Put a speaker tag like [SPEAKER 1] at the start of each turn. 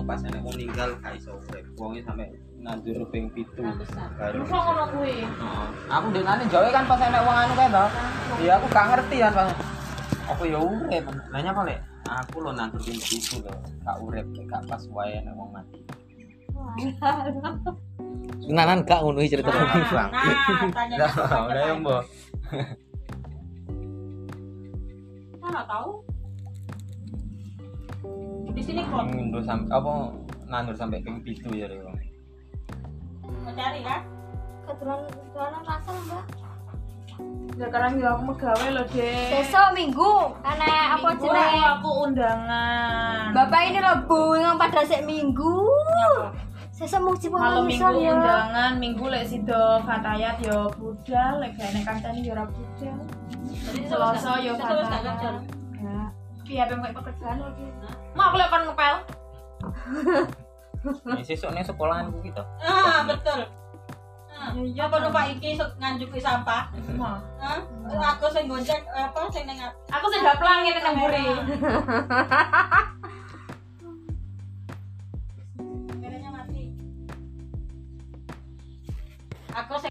[SPEAKER 1] pas nenek mau ninggal gak iso urip. Wonge sampe nandur ping 7.
[SPEAKER 2] Nah,
[SPEAKER 1] Baru.
[SPEAKER 3] Masa ngono kuwi.
[SPEAKER 1] Heeh.
[SPEAKER 4] Aku denane jawe kan pas enek wong anu kae to. Iya aku gak ngerti kan pas. Aku ya urip. Nanya apa lek? Aku lo nandur ping pitu lho. Gak urip gak pas wae enek wong mati.
[SPEAKER 5] Nanan Nah, gak ngono iki cerita.
[SPEAKER 3] Nah, nah, tanya
[SPEAKER 1] Lah, ora yo, Mbok.
[SPEAKER 3] Mana tahu? Di sini kok
[SPEAKER 1] Nandur sampe apa nandur sampe ping 7 ya lho.
[SPEAKER 3] mencari ya.
[SPEAKER 6] kebetulan kebetulan pasang mbak
[SPEAKER 2] Ya karena gila aku megawe loh deh.
[SPEAKER 6] besok minggu karena apa
[SPEAKER 2] Minggu
[SPEAKER 6] jenenge
[SPEAKER 2] aku undangan.
[SPEAKER 6] bapak ini loh bunga pada sek minggu sesek mau cipu
[SPEAKER 2] Malam minggu
[SPEAKER 6] misal ya
[SPEAKER 2] undangan, minggu lek sido fatayat yo budal, lek gak enek kancane yo ora budal.
[SPEAKER 3] Jadi
[SPEAKER 2] Selasa yo
[SPEAKER 3] terus gak kerja.
[SPEAKER 2] fatayat. Ya. Piye ben koyo pekerjaan lagi.
[SPEAKER 3] Nah.
[SPEAKER 2] Mau aku lek kon ngepel.
[SPEAKER 1] Nek sesuk ning sekolahan ku kita.
[SPEAKER 3] Ah, betul. Ah,
[SPEAKER 2] Iya,
[SPEAKER 3] apa numpak iki sok nganjuki sampah?
[SPEAKER 2] Mau.
[SPEAKER 3] Hah? Aku sing gonceng eh, apa sing ning
[SPEAKER 2] Aku sudah pelang ngene nang mburi.
[SPEAKER 3] Kameranya mati. Aku sing